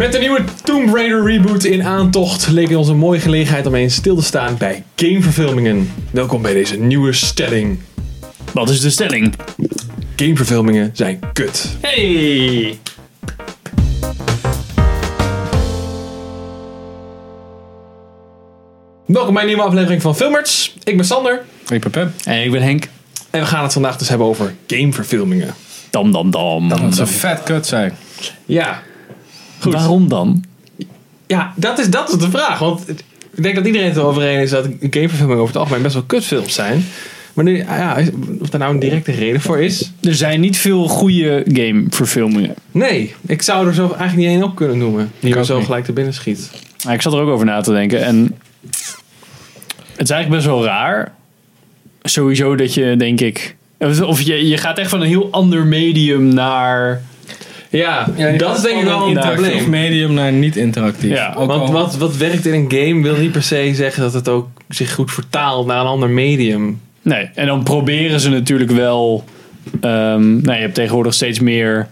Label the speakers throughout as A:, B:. A: Met de nieuwe Tomb Raider reboot in aantocht leek het ons een mooie gelegenheid om eens stil te staan bij gameverfilmingen. Welkom bij deze nieuwe stelling.
B: Wat is de stelling?
A: Gameverfilmingen zijn kut.
B: Hey!
A: Welkom bij een nieuwe aflevering van Filmers. Ik ben Sander
C: Ik ben Pep.
B: En ik ben Henk.
A: en we gaan het vandaag dus hebben over gameverfilmingen.
B: Dam, dam, dam.
C: Dat ze vet kut zijn.
A: Ja, goed.
B: Waarom dan?
A: Ja, dat is, dat is de vraag. Want ik denk dat iedereen het erover eens is dat gameverfilmingen over het algemeen best wel kutfilms zijn. Maar nu, ah ja, of daar nou een directe reden voor is.
B: Er zijn niet veel goede gameverfilmingen.
A: Nee, ik zou er zo eigenlijk niet één op kunnen noemen. Die
C: Ik
A: me
C: ook
A: zo
C: niet.
A: gelijk te binnen schiet.
B: Maar ik zat er ook over na te denken. En het is eigenlijk best wel raar. Sowieso dat je, denk ik... Of je, je gaat echt van een heel ander medium naar...
A: Ja, dat is denk ik wel een
B: interactief
A: probleem.
C: medium naar niet interactief.
B: Ja,
C: Ook
A: Want
C: al-
A: wat, wat werkt in een game wil niet per se zeggen dat het ook zich goed vertaalt naar een ander medium.
B: Nee, en dan proberen ze natuurlijk wel... ehm, nou, je hebt tegenwoordig steeds meer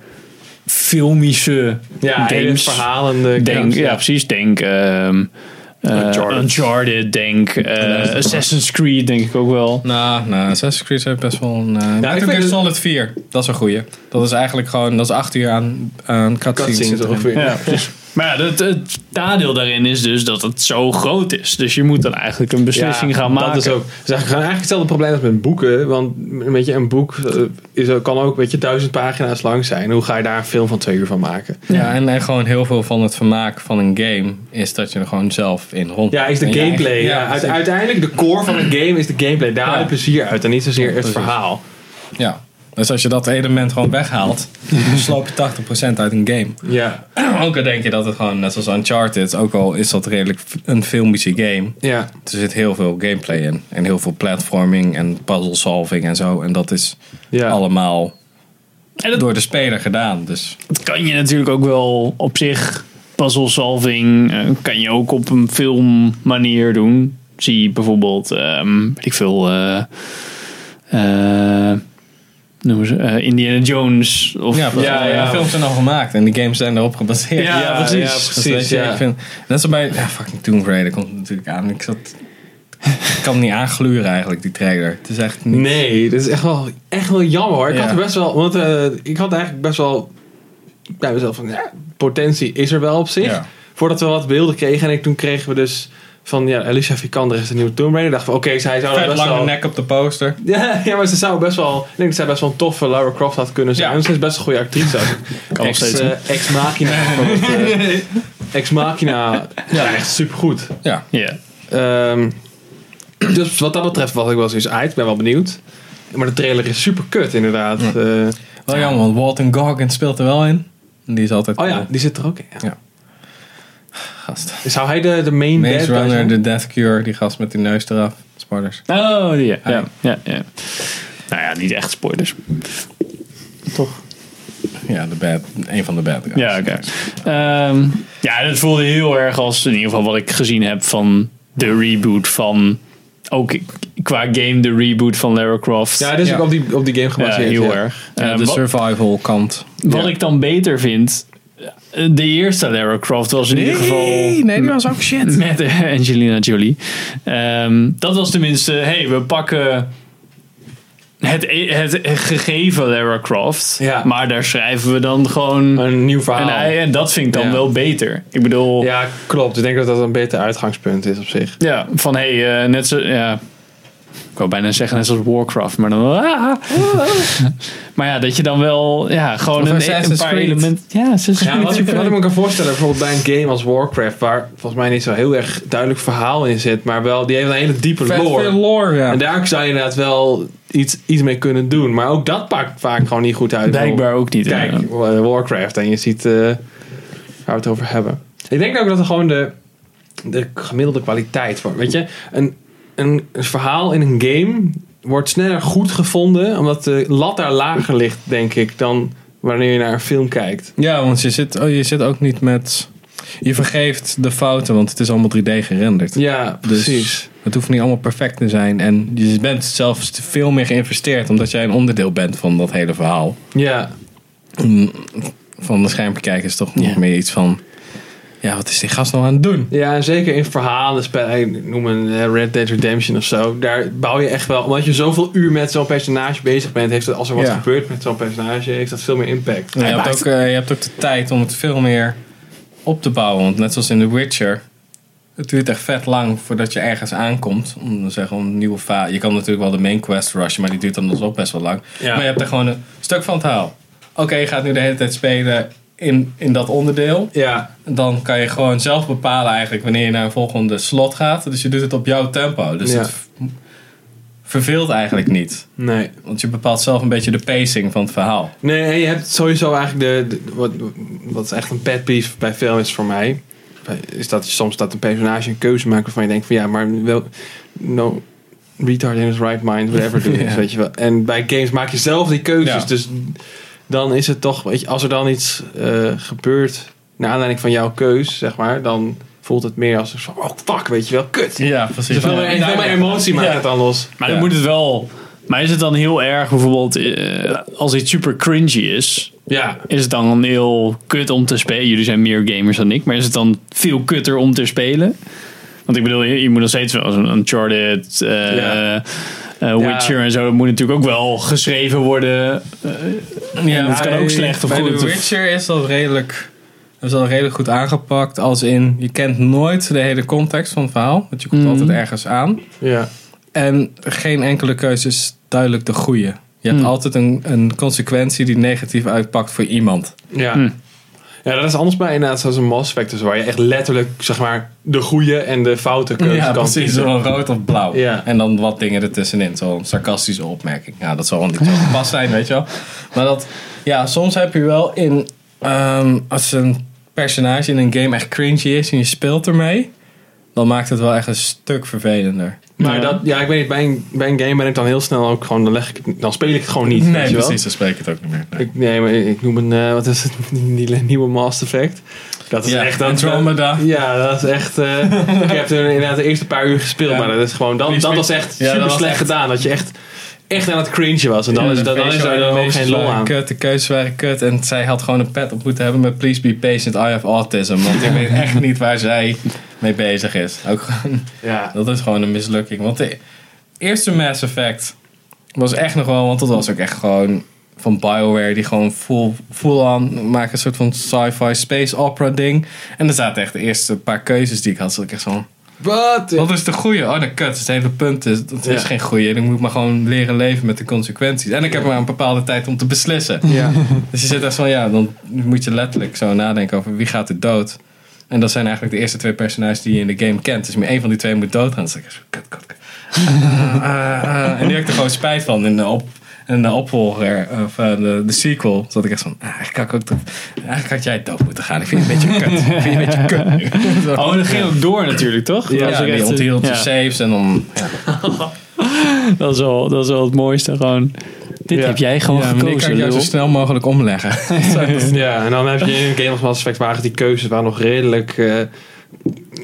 B: filmische
A: Ja, games,
B: games.
A: verhalende
B: Denk,
A: games.
B: ja, precies. Denk ehm, eh,
A: Uncharted.
B: Uncharted. Denk eh, Assassin's Creed, denk ik ook wel.
C: Nou, nou, Assassin's Creed heeft best wel een... eh
A: ik
C: Metal
A: vind
C: Gear
A: het-
C: Solid 4. Dat is een goeie. Dat is eigenlijk gewoon... Dat is acht uur aan, aan cutscenes.
A: Cutscenes
C: zitten
A: ongeveer.
B: Ja, precies. Maar ja, het, het nadeel daarin is dus dat het zo groot is. Dus je moet dan eigenlijk een beslissing
A: Ja,
B: gaan maken.
A: Dat is ook. Dat is eigenlijk, eigenlijk hetzelfde probleem als met boeken. Want weet je, een boek eh, is, ook- kan ook weet je, duizend pagina's lang zijn. Hoe ga je daar een film van twee uur van maken?
C: Ja, en, en gewoon heel veel van het vermaak van een game is dat je er gewoon zelf in rond...
A: Ja, is de
C: en je
A: gameplay.
C: eigen-
A: Ja,
C: Ja,
A: uite-
C: precies.
A: uiteindelijk de core van een game is de gameplay. Daar haal je
C: Ja.
A: plezier uit en niet zozeer het
C: precies.
A: verhaal.
C: ja. Dus als je dat element gewoon weghaalt, dan sloop je 80% uit een game.
A: Ja,
C: Ook al denk je dat het gewoon, net zoals Uncharted, ook al is dat redelijk f- een filmische game,
A: ja.
C: Er zit heel veel gameplay in. En heel veel platforming en puzzle solving en zo. En dat is
A: ja.
C: allemaal
B: En dat-
C: door de speler gedaan. Dus
B: Dat kan je natuurlijk ook wel op zich. Puzzle solving eh, kan je ook op een filmmanier doen. Zie bijvoorbeeld, ehm, weet ik veel, eh, eh, noemen ze, eh, Indiana Jones. Of,
C: ja, ja,
A: ja.
C: de films zijn al gemaakt en de games zijn erop gebaseerd.
B: Ja,
C: Dus
B: precies.
C: weet je,
A: precies ja.
C: Ik vind, net zo bij ja, fucking Tomb Raider komt het natuurlijk aan. Ik zat, ik kan het niet aangluren eigenlijk die trailer. Het is echt niet.
A: Nee, dat is echt wel, echt wel jammer hoor. Ik
C: Ja.
A: had er best wel, want eh, ik had eigenlijk best wel bij mezelf van, ja, potentie is er wel op zich.
C: Ja.
A: Voordat we wat beelden kregen en ik, toen kregen we dus van, ja, Alicia Vikander is de nieuwe Tomb Raider. Ik dacht van, oké, zij zou
C: Vet
A: best
C: lange
A: wel...
C: nek op de poster.
A: Ja, ja, maar ze zou best wel, ik denk dat zij best wel een toffe Lara Croft had kunnen zijn.
C: Ja.
A: Ze is best een goede actrice.
B: Kan nog
A: ex,
B: steeds,
A: eh, ex Machina. van het, eh, ex Machina, ja, echt supergoed.
C: Ja.
B: Ja.
A: Ehm, dus wat dat betreft was ik wel zoiets uit. Ik ben wel benieuwd. Maar de trailer is super kut inderdaad. Eh,
C: Wel jammer, want Walton Goggins speelt er wel in. En Die is altijd
A: oh ja,
C: de
A: die zit er ook in. Ja.
C: Ja. gast.
A: Zou hij de, de main
C: Maze
A: bad guy
C: Runner,
A: zijn?
C: de Death Cure, die gast met die neus eraf. Spoilers.
B: Oh, die, ja.
C: Hi.
B: Ja, ja, ja. Nou ja, niet echt spoilers.
C: Ja, de bad, een van de bad guys.
B: Ja, oké. Ehm, ja, dat voelde heel erg als in ieder geval wat ik gezien heb van de reboot van ook qua game de reboot van Lara Croft.
A: Ja, dit is
C: Ja.
A: ook op die, op die game
B: Ja,
A: gebaseerd.
B: heel
A: ja.
B: erg.
C: Ja,
B: Eh,
C: de
B: wat,
C: survival kant.
B: wat
A: ja.
B: ik dan beter vind, eh, de eerste Lara Croft was in ieder geval
C: nee, die was ook shit.
B: met Angelina Jolie. Ehm, dat was tenminste, hey, we pakken het, e- het gegeven Lara Croft,
A: Ja.
B: maar daar schrijven we dan gewoon
A: Een nieuw
B: en,
A: verhaal.
B: hij- en dat vind ik dan
A: Ja.
B: wel beter. Ik bedoel, ja,
A: Ja, klopt. Ik denk dat dat een beter uitgangspunt is op zich.
B: van hé, hey, eh, net zo. Ja, ik wou bijna zeggen net zoals Warcraft, maar dan. ah. maar ja, dat je dan wel. Ja, gewoon
C: Of
B: een, een
C: Assassin's
B: paar
C: Creed.
B: elementen. Ja, Assassin's
A: Ja,
B: Creed
A: wat, ik-
B: super.
A: wat ik me kan voorstellen, bijvoorbeeld bij een game als Warcraft, waar volgens mij niet zo heel erg duidelijk verhaal in zit, maar wel, die heeft een hele diepe
C: Vet
A: lore.
C: veel lore, ja.
A: En daar zou je inderdaad wel iets, iets mee kunnen doen. Maar ook dat pakt vaak gewoon niet goed uit.
B: Blijkbaar ook niet.
A: Kijk,
B: ja.
A: eh, Warcraft. En je ziet eh, waar we het over hebben. Ik denk ook dat er gewoon de, de gemiddelde kwaliteit voor. Weet je, een, een, een verhaal in een game wordt sneller goed gevonden. Omdat de lat daar lager ligt, denk ik, dan wanneer je naar een film kijkt.
C: Ja, want je zit, oh, je zit ook niet met... Je vergeeft de fouten, want het is allemaal 3D gerenderd.
A: Ja,
C: Dus-
A: precies.
C: Het hoeft niet allemaal perfect te zijn. En je bent zelf veel meer geïnvesteerd, omdat jij een onderdeel bent van dat hele verhaal.
A: Ja.
C: Mm, Van de schermpje kijken is toch nog
B: Ja.
C: meer iets van... Ja, wat is die gast nou aan het doen?
A: Ja, en zeker in verhalen, spelen, noem een eh, Red Dead Redemption of zo. Daar bouw je echt wel, omdat je zoveel uur met zo'n personage bezig bent, heeft het, als er wat
C: Ja.
A: gebeurt met zo'n personage, heeft dat veel meer impact.
C: je, hebt
B: maakt-
C: ook, eh, je hebt ook de tijd om het veel meer op te bouwen. Want net zoals in The Witcher, het duurt echt vet lang voordat je ergens aankomt. Om te zeggen, om een nieuwe fase. Je kan natuurlijk wel de main quest rushen, maar die duurt dan dus ook best wel lang.
A: Ja.
C: Maar je hebt er gewoon een stuk van het verhaal. Oké, je gaat nu de hele tijd spelen in, in dat onderdeel.
A: Ja,
C: Dan kan je gewoon zelf bepalen eigenlijk wanneer je naar een volgende slot gaat. Dus je doet het op jouw tempo. Dus
A: Ja.
C: het v- verveelt eigenlijk niet.
A: nee.
C: Want je bepaalt zelf een beetje de pacing van het verhaal.
A: Nee, en je hebt sowieso eigenlijk de, de- wat, wat echt een pet peeve bij film is voor mij, is dat je soms dat een personage een keuze maakt waarvan je denkt van ja, maar wel, no retard in his right mind, whatever doing
C: Ja.
A: is, weet je wel. En bij games maak je zelf die keuzes,
C: Ja.
A: dus dan is het toch, weet je, als er dan iets eh, gebeurt naar aanleiding van jouw keus, zeg maar, dan voelt het meer als een soort van, oh fuck, weet je wel, kut.
C: Ja, precies.
A: Dus veel meer, veel meer emotie maakt
C: Ja.
A: het dan los.
B: Maar dan
C: Ja.
B: moet het wel. Maar is het dan heel erg bijvoorbeeld eh, als iets super cringy is?
A: Ja.
B: Is het dan heel kut om te spelen? Jullie zijn meer gamers dan ik, maar is het dan veel kutter om te spelen? Want ik bedoel, je, je moet nog steeds wel als een Uncharted, eh,
A: Ja.
B: eh, Witcher en zo, dat moet natuurlijk ook wel geschreven worden.
C: Ja,
B: dat kan
C: bij-
B: ook slecht of
C: bij
B: goed
C: The
B: of-
C: Witcher is dat redelijk, is dat redelijk goed aangepakt. Als in, je kent nooit de hele context van het verhaal. Want je komt
B: Mhm.
C: altijd ergens aan.
A: Ja.
C: En geen enkele keuze is duidelijk de goede. Je hebt
B: Mm.
C: altijd een, een consequentie die negatief uitpakt voor iemand.
A: Ja.
B: Hm.
A: Ja, dat is anders bij inderdaad zoals een Mass Effect, dus waar je echt letterlijk zeg maar de goede en de foute keuze kan kiezen.
C: Zo rood of blauw.
A: Ja.
C: En dan wat dingen ertussenin. Zo'n sarcastische opmerking. Ja, dat zal wel niet zo gepast zijn, weet je wel. Maar dat, ja, soms heb je wel in, ehm, als een personage in een game echt cringy is en je speelt ermee, dan maakt het wel echt een stuk vervelender.
A: Maar
B: Ja.
A: dat, ja, ik weet niet, bij een, bij een game ben ik dan heel snel ook gewoon, dan, leg ik, het- dan speel ik het gewoon niet. weet je wel?
C: dan spreek ik het ook niet meer.
A: Ik, nee, maar ik noem een, eh, wat is het, die nieuwe Mass Effect. Dat is
C: Ja,
A: echt... Dat,
C: Andromeda.
A: ja, dat is echt... eh, ik heb er inderdaad de eerste paar uur gespeeld,
C: Ja.
A: maar dat is gewoon, dan,
C: Please,
A: dat was
C: please.
A: echt
C: Ja, dat
A: super
C: was
A: slecht
C: echt-
A: gedaan. Dat je echt, echt aan het cringe was. En dan,
C: Ja,
A: is,
C: de
A: dan, dan is er
C: facial
A: dan ook geen
C: animations
A: lol
C: waren
A: aan.
C: Kut, de keuzes waren kut. En zij had gewoon een pet op moeten hebben met Please be patient, I have autism. Want ik weet echt niet waar zij mee bezig is. Ook gewoon,
A: Ja.
C: dat is gewoon een mislukking. Want de eerste Mass Effect was echt nog wel... Want dat was ook echt gewoon van Bioware. Die gewoon full, full on maken een soort van sci-fi space opera ding. En er zaten echt de eerste paar keuzes die ik had. Zat ik echt zo
A: Wat?
C: wat is de goeie? Oh, dat kut. Het hele punt is, dat is
A: Ja.
C: geen goeie. En ik moet maar gewoon leren leven met de consequenties. En ik heb maar een bepaalde tijd om te beslissen.
A: Ja.
C: Dus je zit echt van, ja, dan moet je letterlijk zo nadenken over wie gaat er dood. En dat zijn eigenlijk de eerste twee personages die je in de game kent. Dus maar één van die twee moet doodgaan. Dus ik zo, kut, kut, kut. Ah, ah, ah. En die heb ik er gewoon spijt van in de, op, in de opvolger, of eh, de, de sequel. Zat ik echt van, ah, eigenlijk, had ik ook, dood- eigenlijk had jij dood moeten gaan. Ik vind je een beetje kut. Ik vind je een beetje kut nu.
B: Oh, dat ging ook door natuurlijk, toch?
C: Ja,
B: Dat is ook
C: die
B: echt- eh,
C: onthield de
B: ja.
C: saves en dan... Ja.
B: dat, is wel, dat is wel het mooiste gewoon. Dit
A: Ja.
B: heb jij gewoon
C: Ja, maar die kan
B: gekozen,
C: ik jou
B: lul.
C: zo snel mogelijk omleggen.
A: Ja, en dan heb je in Game of Mass Effect waren die keuzes waren nog redelijk... eh,
C: Ja,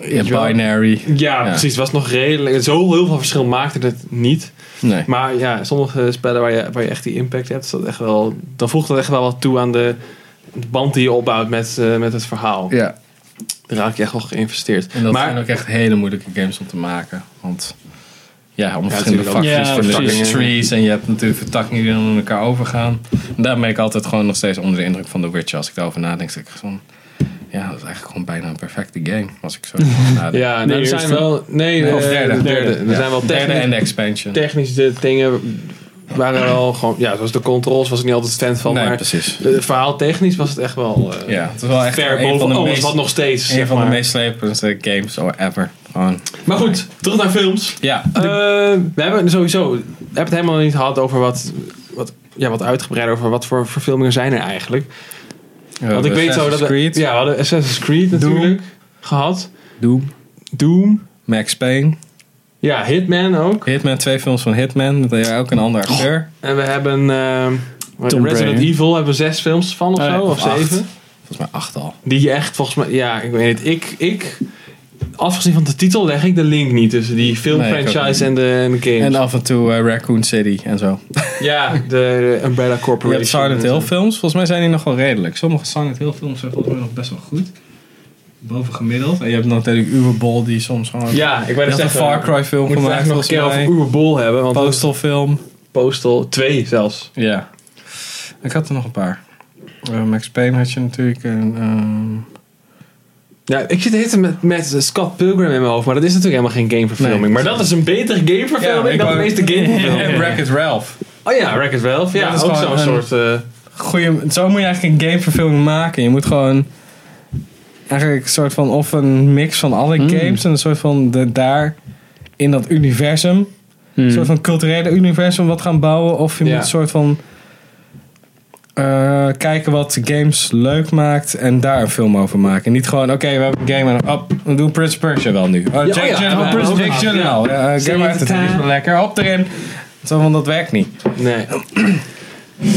A: weet je wel.
C: binary.
A: Ja, precies. Het was nog redelijk. Zo heel veel verschil maakte het niet.
C: Nee.
A: Maar ja, sommige spellen waar je, waar je echt die impact hebt, is dat echt wel, dan voegt dat echt wel wat toe aan de de band die je opbouwt met, eh, met het verhaal.
C: Ja.
A: Daar raak je echt wel geïnvesteerd.
C: En dat
A: maar
C: zijn ook echt hele moeilijke games om te maken. Want ja, om verschillende
A: natuurlijk
C: facties,
B: ook. Ja,
C: verschillende
A: precies.
C: trees. En je hebt natuurlijk vertakkingen die dan aan elkaar overgaan. En daar ben ik altijd gewoon nog steeds onder de indruk van The Witcher. Als ik daarover nadenk, zeg ik van... Ja, dat is eigenlijk gewoon bijna een perfecte game. Als ik zo erover nadenk.
A: ja,
B: de
A: nou, er zijn
B: eerste.
A: wel. Nee,
C: Nee,
A: de,
C: of derde.
A: de derde.
C: Derde.
A: Er zijn wel
C: Derde en
A: technisch,
C: de expansion.
A: technische dingen. Waren wel gewoon. Ja, zoals de controls was ik niet altijd fan van.
C: nee,
A: maar
C: precies.
A: eh, verhaaltechnisch was het echt wel. eh,
C: Ja, het is wel echt
A: Ver
C: een van
A: boven
C: de
A: alles
C: meest,
A: wat nog steeds.
C: een
A: zeg
C: van de
A: maar.
C: meest slepende games ever. Gewoon.
A: maar goed, terug naar films.
C: Ja,
A: Eh, we hebben sowieso we hebben het helemaal niet gehad over wat, wat, ja, wat uitgebreider over wat voor verfilmingen zijn er eigenlijk. Want ik weet zo dat we,
C: dus Creed,
A: ja, we hadden Assassin's Creed natuurlijk gehad.
C: Doom,
A: Doom.
C: Max Payne,
A: Ja, Hitman ook.
C: Hitman, twee films van Hitman, met eh, ook een andere acteur.
A: En we hebben ehm, wat
B: Tomb
A: Resident
B: Raider.
A: Evil hebben we zes films van of
B: Oh
A: zo,
B: ja,
A: of,
C: of acht.
A: zeven.
C: Volgens mij acht al.
A: Die echt volgens mij, ja, ik weet het. Ik, ik, afgezien van de titel leg ik de link niet tussen die
C: Nee, ik ook niet.
A: filmfranchise en de, en de games.
C: En af en toe eh, Raccoon City en zo.
A: ja, de, de Umbrella
C: Je
A: Corporation.
C: hebt Silent Hill films, volgens mij zijn die nog wel redelijk. Sommige Silent Hill films zijn volgens mij nog best wel goed. boven gemiddeld. En je hebt natuurlijk Uberbol die soms gewoon...
A: Ja, ik
C: je
A: wou net
C: had een
A: zeggen.
C: Far Cry
A: we
C: film
A: moeten het
C: gemaakt
A: eigenlijk nog een
C: volgens
A: keer over
C: mij.
A: Uwe Bol hebben. Want
C: Postal film.
A: Postal 2 zelfs.
C: Ja. Ik had er nog een paar. Eh, Max Payne had je natuurlijk. En, ehm,
A: Ja, ik zit de hele tijd met, met eh, Scott Pilgrim in mijn hoofd. Maar dat is natuurlijk helemaal geen gameverfilming.
C: Nee.
A: Maar dat is een betere gameverfilming
C: Ja, ik
A: dan de
C: wou-
A: meeste gameverfilming.
C: en Wreck-It Ralph.
A: Oh ja, Wreck-It Ralph. Ja,
C: Dat is
A: ook zo'n
C: gewoon een-
A: soort... eh,
C: Goeie, zo moet je eigenlijk een gameverfilming maken. Je moet gewoon eigenlijk een soort van of een mix van alle
B: Hmm.
C: games en een soort van de, daar in dat universum,
B: Hmm.
C: een soort van culturele universum wat gaan bouwen. Of je
A: Hmm. Ja.
C: moet een soort van eh, kijken wat games leuk maakt en daar een film over maken. En niet gewoon, oké, we hebben een game en dan, op, we doen Prince of Persia wel nu. Oh, Jake
A: ja,
C: Gyllenhaal,
A: ja, Prince of
C: Jake
A: Persia.
C: Gyllenhaal. Ja, eh,
A: Save
C: Game uit
A: the
C: het is wel
A: time.
C: lekker, op erin. Zo van, dat werkt niet.
A: Nee.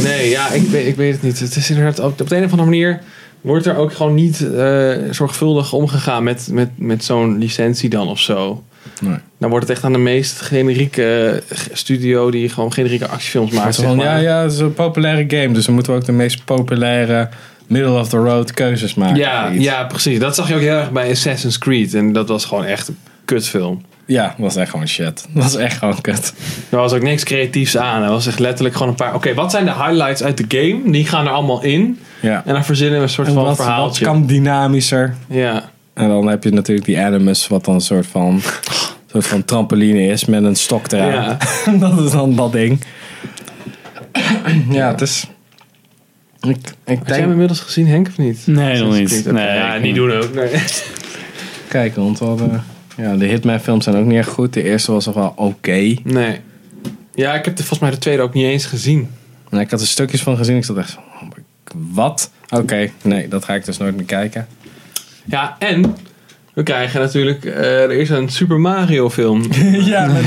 A: Nee, ja, ik weet, ik weet het niet. Het is inderdaad ook, op de een of andere manier wordt er ook gewoon niet eh, zorgvuldig omgegaan met, met, met zo'n licentie dan of zo.
C: Nee.
A: Dan wordt het echt aan de meest generieke eh, g- studio die gewoon generieke actiefilms maakt.
C: Van,
A: zeg maar.
C: ja, ja, het is een populaire game, dus dan moeten we ook de meest populaire middle of the road keuzes maken.
A: ja,
C: Iets.
A: ja, precies. Dat zag je ook heel erg bij Assassin's Creed. En dat was gewoon echt een kutfilm.
C: ja, dat was echt gewoon shit. Dat was echt gewoon kut.
A: Er was ook niks creatiefs aan. Er was echt letterlijk gewoon een paar... Oké, wat zijn de highlights uit de game? Die gaan er allemaal in.
C: Ja.
A: En dan verzinnen we een soort
C: En
A: van
C: wat, wat
A: verhaaltje.
C: kan dynamischer?
A: Ja.
C: En dan heb je natuurlijk die animus, wat dan een soort van, soort van trampoline is met een stok eraan. dat is dan dat ding. ja, het is... Ik, ik
A: Heb jij hem
C: denk...
A: inmiddels gezien, Henk, of niet?
B: Nee, nog niet.
A: Klinkt ook-
B: Nee,
A: ja,
B: ik-
A: niet doen ook. Nee.
C: Kijk, want we hadden- Ja, de Hitman films zijn ook niet echt goed. De eerste was nog wel oké.
A: nee. Ja, ik heb de, volgens mij de tweede ook niet eens gezien.
C: En ik had er stukjes van gezien. Ik zat echt van, oh my- wat? Oké, nee, dat ga ik dus nooit meer kijken.
A: Ja, en we krijgen natuurlijk... eh, er is een Super Mario film
C: ja, met,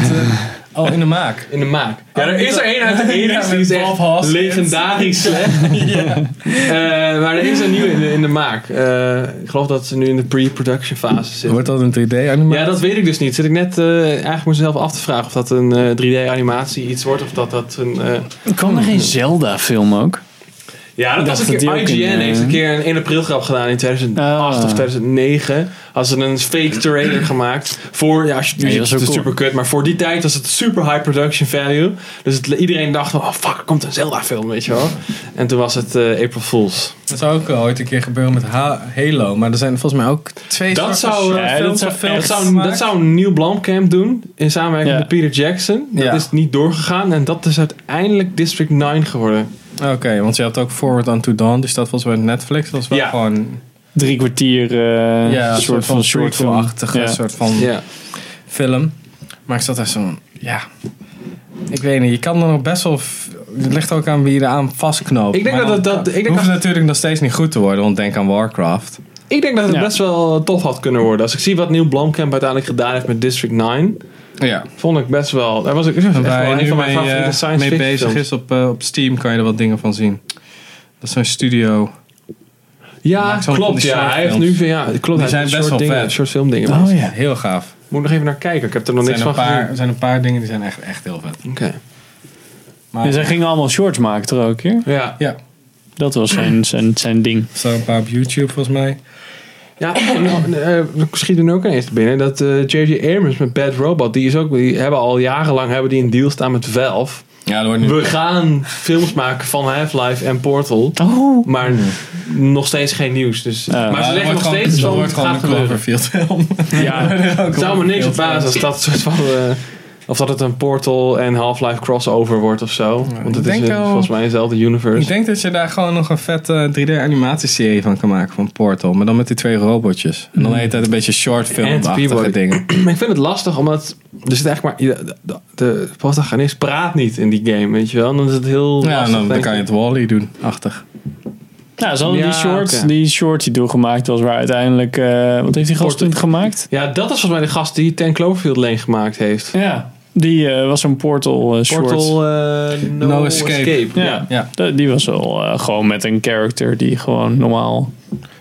C: al Oh, in de maak.
A: in de maak. Ja, er is er één uit de
C: Ja,
A: 80's
C: met
A: die is
C: Bob
A: echt
C: Hoskins.
A: legendarisch slecht. Eh, maar er is een nieuwe in de, in de maak. Eh, ik geloof dat ze nu in de pre-production fase zitten.
C: Wordt dat een 3D-animatie?
A: Ja, dat weet ik dus niet. Zit ik net eh, eigenlijk mezelf af te vragen of dat een eh, 3D-animatie iets wordt of dat dat een... eh,
B: Kan er geen Zelda-film ook?
A: Ja, dat was
B: dacht
A: een
B: dat die
A: keer. IGN
B: ook in, eh,
A: heeft een keer een 1 april grap gedaan in 2008
B: Ah.
A: of 2009. Als ze een fake trailer gemaakt. Voor, ja, als je nu
B: Ja, die
A: ziet,
B: was
A: het
B: ook
A: is
B: cool.
A: super kut. Maar voor die tijd was het super high production value. Dus het, iedereen dacht van, oh fuck, er komt een Zelda film, weet je wel. En toen was het eh, April Fools.
C: Dat zou ook wel ooit een keer gebeuren met Ha- Halo. Maar er zijn volgens mij ook twee
A: Dat
C: soorten
A: zou, eh,
B: Ja,
C: films
B: dat zou
C: of films
A: Dat
B: echt-
A: zou,
C: gemaakt.
A: dat zou Neil Blomkamp doen. In samenwerking
B: Ja.
A: met Peter Jackson. Dat
C: Ja.
A: is niet doorgegaan. En dat is uiteindelijk District 9 geworden.
C: Oké, want je had ook Forward Unto Dawn. Dus dat was wel Netflix. Dat was wel
A: Ja.
C: gewoon
B: Drie kwartier eh,
C: ja, een
B: soort, van
C: prequel-achtige
B: Ja.
C: soort van
A: Ja.
C: film. Maar ik zat echt zo ja... Ik weet niet, je kan er nog best wel... f- Het ligt ook aan wie je eraan vastknoopt.
A: Ik denk
C: Maar
A: dat
C: dan-
A: het- dat- ik denk
C: hoeft
A: dat-
C: het natuurlijk nog steeds niet goed te worden. Want denk aan Warcraft.
A: Ik denk dat het
B: Ja.
A: best wel tof had kunnen worden. Als ik zie wat Neil Blomkamp uiteindelijk gedaan heeft met District 9,
C: Ja.
A: vond ik best wel. Daar was ik echt
C: Waar
A: wel
C: hij
A: een
C: nu
A: van mijn
C: mee,
A: favoriete
C: eh,
A: science
C: mee
A: fiction
C: bezig
A: films.
C: is op, eh, op Steam. Kan je er wat dingen van zien. Dat is zo'n studio.
A: Ja,
C: maakt zo'n van
A: klopt.
C: die
A: Ja,
C: short
A: hij heeft
C: films.
A: nu ja, klopt. hij heeft
C: zijn best
A: short
C: wel
A: dingen,
C: vet.
A: Short film dingen.
B: Oh ja.
C: Heel gaaf.
A: Moet ik nog even naar kijken. Ik heb er nog
C: Er
A: niks
C: zijn, een
A: van
C: paar,
A: gezien.
C: er zijn een paar dingen die zijn echt, echt heel vet.
A: Oké.
C: Maar
B: Dus hij ging allemaal shorts maken er ook, keer.
A: Ja.
C: ja,
B: Dat was zijn, zijn, zijn ding.
C: er staan een paar op YouTube volgens mij.
A: Ja, en, eh, eh, schiet er nu ook ineens te binnen dat eh, J.J. Abrams met Bad Robot, die, is ook, die hebben al jarenlang hebben die een deal staan met Valve.
C: Ja, dat wordt nu...
A: We gaan films maken van Half-Life en Portal.
B: Oh.
A: Maar nog steeds geen nieuws. Dus,
B: Ja.
A: maar ze leggen
C: dat
A: nog
C: Hmm. wordt gewoon-
A: steeds
C: dat
A: van
C: wordt
A: het
C: gewoon
A: gaat
C: een
A: gebeuren.
C: Cloverfield film.
B: Ja.
A: Het zou me niks verbazen als dat soort van... eh, of dat het een Portal en Half-Life crossover wordt of zo.
C: Ja,
A: Want
C: ik
A: het is
C: denk
A: een-
C: wel-
A: volgens mij eenzelfde
C: Ik
A: universe.
C: denk dat je daar gewoon nog een vette 3D-animatieserie van kan maken van Portal. Maar dan met die twee robotjes. En dan
A: Mm.
C: heet het een beetje short
A: Antibody.
C: film-achtige dingen.
A: Maar ik vind het lastig, omdat... Er zit eigenlijk maar... De, de, de protagonist praat niet in die game, weet je wel. En Dan is het heel
C: Ja, en
A: lastig,
C: dan, dan
A: denk
C: kan je
A: ik.
C: het Wally doen, achtig.
B: Nou, ze hadden
A: Ja,
B: die, short,
A: oké.
B: die short die doorgemaakt was, waar uiteindelijk... eh, wat heeft die gast
A: Porto-
B: toen gemaakt?
A: Ja, dat is volgens mij de gast die Ten Cloverfield Lane gemaakt heeft.
B: Ja. Die eh, was een portal eh, short.
A: Portal eh, no,
C: No
A: Escape.
C: Escape.
B: Ja.
A: ja.
C: Ja.
B: Da- Die was wel eh, gewoon met een character die gewoon normaal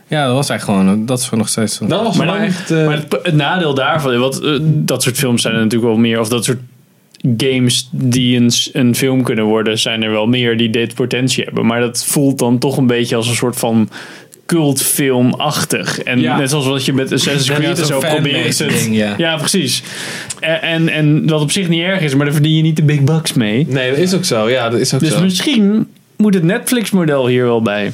C: Ja, dat was eigenlijk gewoon, dat is gewoon nog steeds een
A: Dat was maar
B: dan-
A: echt... eh,
B: maar het, het nadeel daarvan, want eh, dat soort films zijn er natuurlijk wel meer, of dat soort games die een, s- een film kunnen worden, zijn er wel meer die dit potentie hebben. Maar dat voelt dan toch een beetje als een soort van cultfilmachtig. En
A: Ja.
B: net zoals wat je met Assassin's
C: Ja,
B: Creed en
C: zo'n
B: zo probeert
C: fanmade
B: het.
C: ding, ja.
B: precies. En, en, en wat op zich niet erg is, maar daar verdien je niet de big bucks mee.
A: Nee, dat is ook zo. Ja, dat is ook
B: Dus
A: zo.
B: misschien moet het Netflix-model hier wel bij.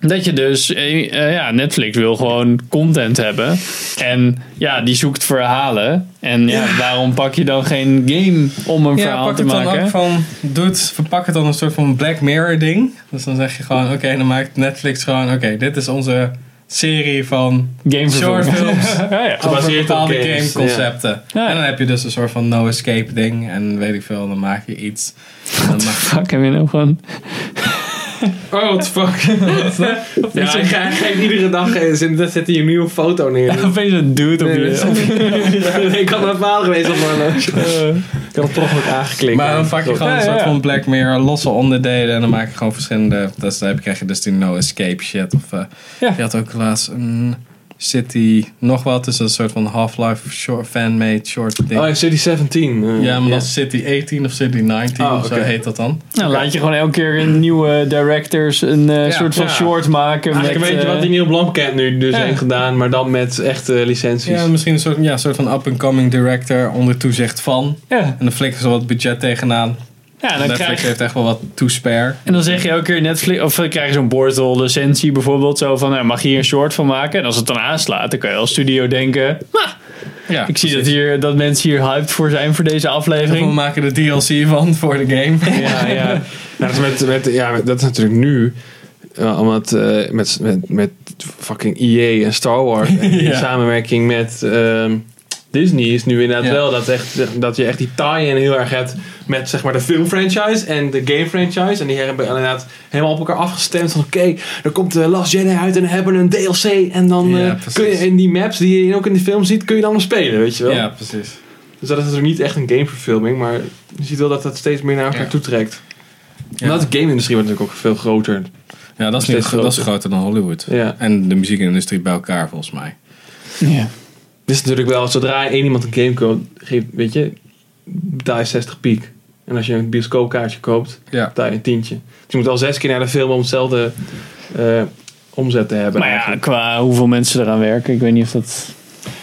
B: Dat je dus, eh, eh, ja, Netflix wil gewoon content hebben. En ja, die zoekt verhalen. En ja, waarom pak je dan geen game om een
C: Ja,
B: verhaal
C: pak
B: te
C: het dan
B: maken?
C: ook van, doet, verpak het dan een soort van Black Mirror ding. Dus dan zeg je gewoon, oké, dan maakt Netflix gewoon, oké, dit is onze serie van
B: Gameverfilming.
C: shortfilms
B: ja, ja.
C: over
A: Gebaseerd op
C: bepaalde
A: games,
C: gameconcepten.
B: ja.
C: En dan heb je dus een soort van no escape ding en weet ik veel, dan maak je iets. En Dan maak
B: Fuck, heb je nou gewoon...
A: Oh, what the fuck. ja, hij ge- hij geeft iedere dag eens en dan zet hij een nieuwe foto neer.
B: Opeens een dude op
A: Nee, dat is-
B: je...
A: Nee, ik had een verhaal geweest op mijn eh, Ik had het toch ook aangeklikt.
C: Maar dan pak je gewoon
B: Ja,
C: een
B: ja,
C: soort
B: ja.
C: van Black Mirror, losse onderdelen. En dan maak je gewoon verschillende. Dus dan heb- krijg je dus die no escape shit. Of, eh,
B: Ja.
C: Je had ook laatst een City, nog wat. Dus een soort van Half-Life short, fan-made short ding.
A: Oh, in City 17. eh,
C: ja, maar dan City 18 of City 19,
A: Oh,
C: of zo
A: oké.
C: heet dat dan.
B: Nou, laat je gewoon elke keer een nieuwe directors een eh,
C: Ja,
B: soort van
A: ja.
B: short maken.
A: Eigenlijk
B: met,
A: een beetje
B: eh,
A: wat die Neil Blomkamp nu dus
C: ja.
A: heeft gedaan, maar dan met echte licenties.
C: Ja, misschien een soort, ja, soort van up-and-coming director onder toezicht van.
B: Ja,
C: En dan flikken ze wat budget tegenaan.
B: ja dan
C: Netflix
B: krijg je...
C: heeft echt wel wat to spare.
B: En dan zeg je elke keer Netflix, of dan krijg je zo'n Bortel licentie bijvoorbeeld, zo van, nou, mag je hier een short van maken? En als het dan aanslaat, dan kan je als studio denken, "Nou,
C: Ja,
B: ik zie dat,
C: precies.
B: hier, dat mensen hier hyped voor zijn voor deze
C: We
B: aflevering.
C: maken de DLC van voor de game.
A: ja, ja. Nou, dat, is met, met, ja met- dat is natuurlijk nu. eh, omdat eh, met, met, met fucking EA en Star Wars. En die
C: Ja.
A: samenwerking met ehm, Disney is nu inderdaad
C: Ja.
A: wel dat, echt, dat je echt die tie-in heel erg hebt met zeg maar, de filmfranchise en de gamefranchise. En die hebben inderdaad helemaal op elkaar afgestemd. Van oké, er komt de Last Jedi uit en we hebben een DLC. En dan
C: Ja,
A: eh, kun je
C: precies.
A: in die maps die je ook in die film ziet, kun je dan nog spelen, weet je wel.
C: Ja, precies.
A: Dus dat is natuurlijk niet echt een gameverfilming, maar je ziet wel dat dat steeds meer naar elkaar
C: Ja.
A: toe trekt.
C: Ja.
A: Omdat de game-industrie wordt natuurlijk ook veel groter.
C: Ja, dat is, nu,
A: Steeds
C: dat is groter dan Hollywood.
A: Ja.
C: En de muziekindustrie bij elkaar, volgens mij.
B: Ja.
A: Dit is natuurlijk wel, zodra één iemand een game koopt, geeft, weet je, betaal je 60 piek. En als je een bioscoopkaartje koopt,
C: Ja.
A: betaal je een tientje. Dus je moet al zes keer naar de film om hetzelfde eh, omzet te hebben.
B: Maar ja,
A: eigenlijk.
B: qua hoeveel mensen eraan werken, ik weet niet of dat...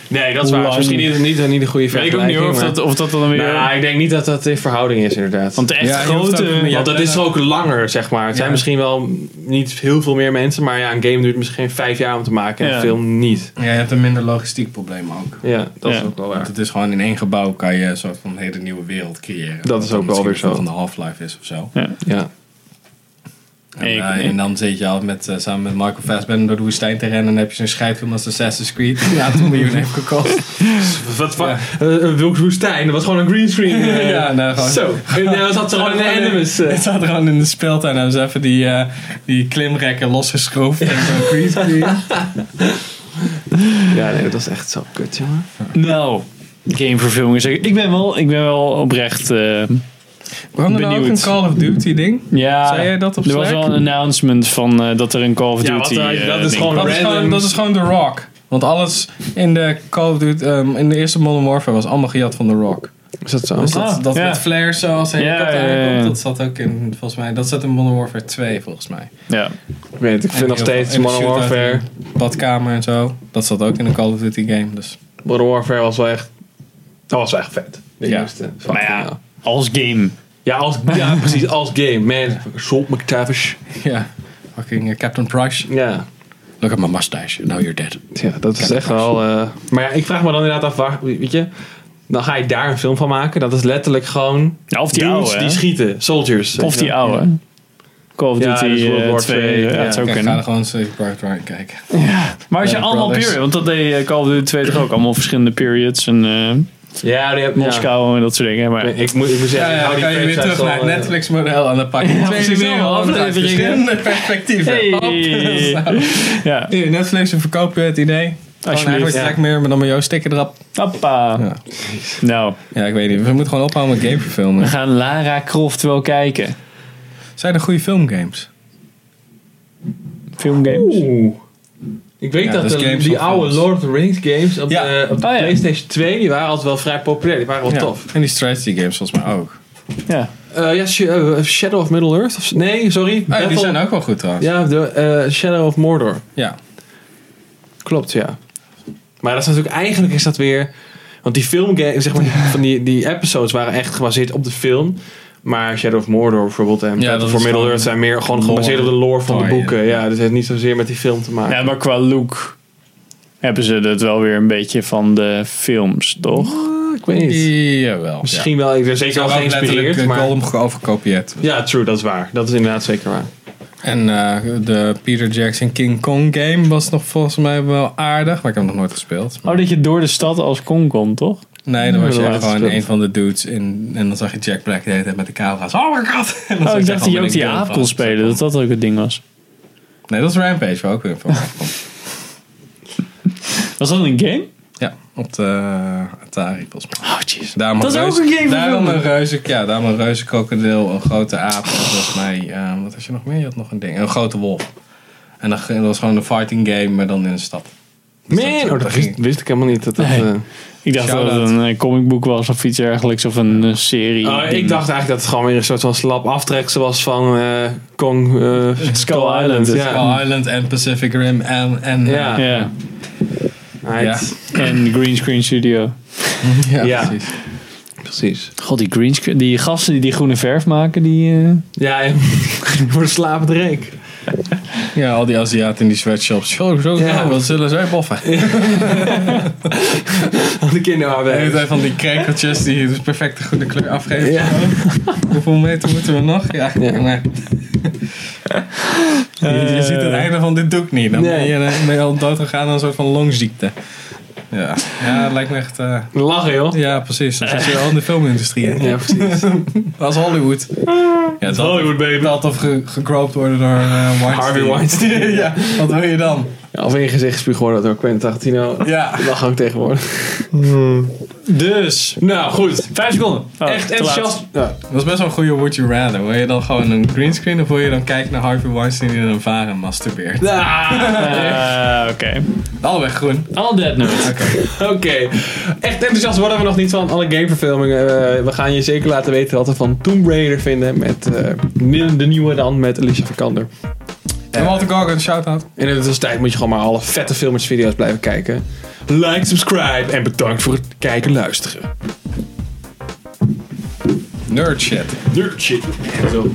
A: nee, dat is waar.
B: Hoe
A: Het is
B: lang-
A: Misschien niet, niet, niet een goede
B: Weet ik
A: vergelijking.
B: ook niet hoor, of
A: maar-
B: dat, of dat dan weer...
A: Nou, ik denk niet dat dat in verhouding is, inderdaad.
B: want de echt
C: Ja, je hoeft
B: grote...
C: ook-
A: Want dat is ook langer, zeg maar. Het zijn
C: Ja.
A: misschien wel niet heel veel meer mensen, maar ja, een game duurt misschien vijf jaar om te maken en
B: Ja.
A: een film niet.
C: Ja, je hebt een minder logistiek probleem ook.
A: Ja, dat
B: Ja.
A: is ook wel
C: Want
A: waar.
C: het is gewoon in één gebouw kan je een soort van hele nieuwe wereld creëren.
A: Dat is
C: Wat
A: ook
C: dan
A: wel weer
C: misschien
A: zo.
C: Van de Half-Life is of zo.
B: Ja.
A: Ja.
C: En,
B: Ik-
C: eh, en dan zit je al met, eh, samen met Michael Fassbender door de woestijn te rennen. En dan heb je zo'n scheidfilm als Assassin's Creed. Die een aantal miljoen heeft gekost.
A: Wat fuck? woestijn? Dat was gewoon een greenscreen. eh,
C: ja, nou gewoon.
A: Zo. En daar zat ze gewoon in de Animus. eh.
C: Het staat gewoon in de speeltuin. Hebben ze even die, eh, die klimrekken losgeschroefd. En zo'n greenscreen.
A: Ja, nee, dat was echt zo kut, jongen.
B: Nou, gameverfilming is... Ik ben wel, ik ben wel oprecht... eh,
C: Waarom er nou ook
B: Benieuwd.
C: een Call of Duty ding?
B: ja,
C: Zei jij dat op
B: Er was
C: Slack?
B: wel een announcement van eh, dat er een Call of
A: Ja,
B: Duty...
A: wat, eh,
B: eh,
A: dat is
B: ding
A: gewoon
B: kwam.
C: Dat is,
A: Random.
C: gewoon, dat is gewoon The Rock. Want alles in de Call of Duty, ehm, in de eerste Modern Warfare was allemaal gejat van The Rock.
A: Is dat zo?
C: Dus dat,
B: Ah,
C: dat
B: ja.
C: met flares zoals hij
B: Ja,
C: ja,
B: ja, ja, ja.
C: dat zat ook in, volgens mij, dat zat in Modern Warfare 2 volgens mij.
B: Ja.
A: Ik weet het, ik vind
C: En
A: nog
C: heel veel-
A: steeds
C: en de
A: Modern
C: shootout
A: Warfare.
C: in de Badkamer en zo, dat zat ook in een Call of Duty game. Dus
A: Modern Warfare was wel echt... Dat was wel echt vet. De
C: Ja.
A: eerste.
B: Maar ja, als game.
A: Ja, als, ja, precies. Als game. Man, Salt McTavish.
C: ja, fucking eh, Captain Price.
A: Ja.
C: Look at my mustache, now you're dead.
A: Ja, dat is echt wel. eh, maar ja, ik vraag me dan inderdaad af, waar, weet je, dan ga je daar een film van maken. Dat is letterlijk gewoon
B: Ja, of die
A: dudes
B: oude.
A: die
B: hè?
A: schieten, soldiers.
B: Of die oude. Call of
A: Ja,
B: Duty
A: dus World
B: eh,
A: War
B: 2.
A: II,
B: ja,
A: ja.
B: het zou
C: Kijk, ga er
B: kunnen.
C: gewoon Saving Private Ryan kijken.
B: Maar als je
C: Brothers.
B: allemaal period... Want dat deed eh, Call of Duty 2 toch ook. Allemaal verschillende periods. En eh,
A: Ja, die hebt
B: Moskou en dat soort dingen. Maar
A: Ja. Ik, moet, ik moet
C: Ja,
A: zeggen,
C: ja,
A: ik hou die
C: dan kan je weer
A: franchise
C: terug naar het
A: wel, eh,
C: Netflix-model en dan pak je
B: Ja,
C: de tweede
B: precies,
C: wereld
B: allemaal
C: uit
B: afleveringen.
C: verschillende perspectieven.
B: Hey.
C: Hop, zo.
B: ja,
C: Hier, Netflix, we verkopen het idee. Als je
B: Alsjeblieft,
C: eigenlijk
A: ja.
C: Black Mirror, maar dan met jouw sticker erop.
B: appa.
C: Ja.
B: Nou,
C: Ja, ik weet niet. We moeten gewoon ophouden met
B: we
C: gameverfilmen.
B: gaan Lara Croft wel kijken.
C: Zijn er goede filmgames?
B: Filmgames.
A: Oeh. Ik weet
C: Ja,
A: dat,
C: dat is
A: de-
C: games
A: die
C: of
A: oude
C: films.
A: Lord of the Rings games op
C: Ja.
A: de, op de
B: Oh, ja.
A: PlayStation 2, die waren altijd wel vrij populair. Die waren wel
C: Ja.
A: tof.
C: En die strategy games volgens mij ook. Oh,
B: Ja.
A: Eh, ja, Sh- eh, Shadow of Middle Earth. Of, nee, sorry.
C: Oh, ja, die
A: Battle-
C: zijn ook wel goed trouwens.
A: Ja, de, eh, Shadow of Mordor.
C: Ja.
A: Klopt, ja. Maar dat is natuurlijk eigenlijk is dat weer. Want die filmgame, zeg maar, die- van die, die episodes waren echt gebaseerd op de film. Maar Shadow of Mordor bijvoorbeeld en
C: Ja,
A: ja,
C: dat
A: voor
C: is
A: Middle
C: gewoon
A: Earth zijn meer gewoon gebaseerd op
C: lore.
A: de lore van de
C: Oh, ja.
A: boeken. Ja, dus het heeft niet zozeer met die film te maken.
B: Ja, maar qua look hebben ze dat wel weer een beetje van de films, toch?
A: Ah, ik weet niet.
C: Jawel.
A: Misschien wel, ik ben zeker wel eh, geïnspireerd.
C: maar...
A: Maar...
C: Gollum overkopieerd.
A: Ja, true, dat is waar. Dat is inderdaad zeker waar.
C: En eh, de Peter Jackson King Kong game was nog volgens mij wel aardig, maar ik heb hem nog nooit gespeeld.
B: Oh, dat je door de stad als Kong komt, toch?
C: Nee, dan was
A: Ja,
C: je
A: dat
C: gewoon
A: klopt.
C: een van de dudes in, en dan zag je Jack Black de hele tijd met de camera's. Oh my god! En dan
B: Oh, ik
C: zag je
B: dacht dat
C: gewoon
B: je ook
C: een
B: die
C: deel
B: aap
C: van-
B: kon spelen. Dat dat ook het ding was.
C: Nee, dat is Rampage, waar ook weer van komt.
B: Was dat een game?
C: Ja, op de eh, Atari volgens mij. Dus
B: Oh, jeez.
C: Daarom
B: Dat is
C: een
B: ook
C: reuze-
B: een game van
C: Daarom
B: vroeger.
C: een reuze, ja, daarom een reuze krokodil, een grote aap. en Volgens mij, eh, wat had je nog meer? Je had nog een ding, een grote wolf. En dan, dat was gewoon een fighting game, maar dan in een stad.
A: Man,
C: dat-
A: oh, dat wist, wist ik helemaal niet. Dat dat,
B: Nee.
A: eh,
B: Ik dacht dat
C: Shout-out.
B: het een eh, comicboek was of iets dergelijks. Of een eh, serie.
A: Oh,
B: ding.
A: ik dacht eigenlijk dat het gewoon weer een soort van slap aftreksel was van eh, Kong eh,
B: Skull Island.
A: Ja.
C: Skull Island en Pacific Rim en... en
A: Ja.
B: Ja.
A: Right.
B: En de Green Screen Studio.
C: ja,
A: Ja.
C: precies.
A: Precies.
B: God, die green screen. Die gasten die die groene verf maken, die. eh,
A: Ja, en- voor de slapende reek.
C: Ja, al die Aziaten in die sweatshops. Zo, zo,
A: Ja.
C: zo, wat zullen zij boffen?
A: Van de
C: De hele tijd
A: kinderarbeid.
C: van die krekeltjes die dus perfect de goede kleur afgeven.
A: Ja.
C: Hoeveel meter moeten we nog? Ja,
A: Ja.
C: maar... Je, je
B: Eh.
C: ziet het einde van dit doek niet. Dan ben,
A: Nee.
C: je, dan ben je al dood gegaan aan een soort van longziekte. Ja, ja het lijkt me echt... eh,
A: Lachen, joh.
C: ja, precies. Dat is je al in de filmindustrie. hè.
A: Ja, precies.
C: Dat is Hollywood. Ja, het is
A: Hollywood,
C: baby. Het zal toch ge gegroopt worden door eh, Weinstein.
A: Harvey Weinstein.
C: ja, wat wil je dan?
A: Ja, of in je gezicht spuug worden door Quentin Tarantino.
C: Ja.
A: Lachen ook tegenwoordig.
B: Dus.
A: Nou, goed.
B: Vijf seconden. Oh,
A: Echt
B: te laat.
A: enthousiast. Ja.
C: Dat is best wel een goede Would You Rather. Wil je dan gewoon een greenscreen of wil je dan kijken naar Harvey Weinstein die in een varen masturbeert?
B: Eh, Oké.
C: Allebei groen.
B: Al dead notes.
A: Oké. Echt enthousiast worden we nog niet van alle gameverfilmingen. Eh, we gaan je zeker laten weten wat we van Tomb Raider vinden. Met eh, de nieuwe dan met Alicia Vikander.
C: En Walter Goggins, shout-out.
A: En in de tussentijd moet je gewoon maar alle vette filmpjes video's blijven kijken. Like, subscribe en bedankt voor het kijken en luisteren.
C: Nerd shit.
A: Nerd shit. Zo.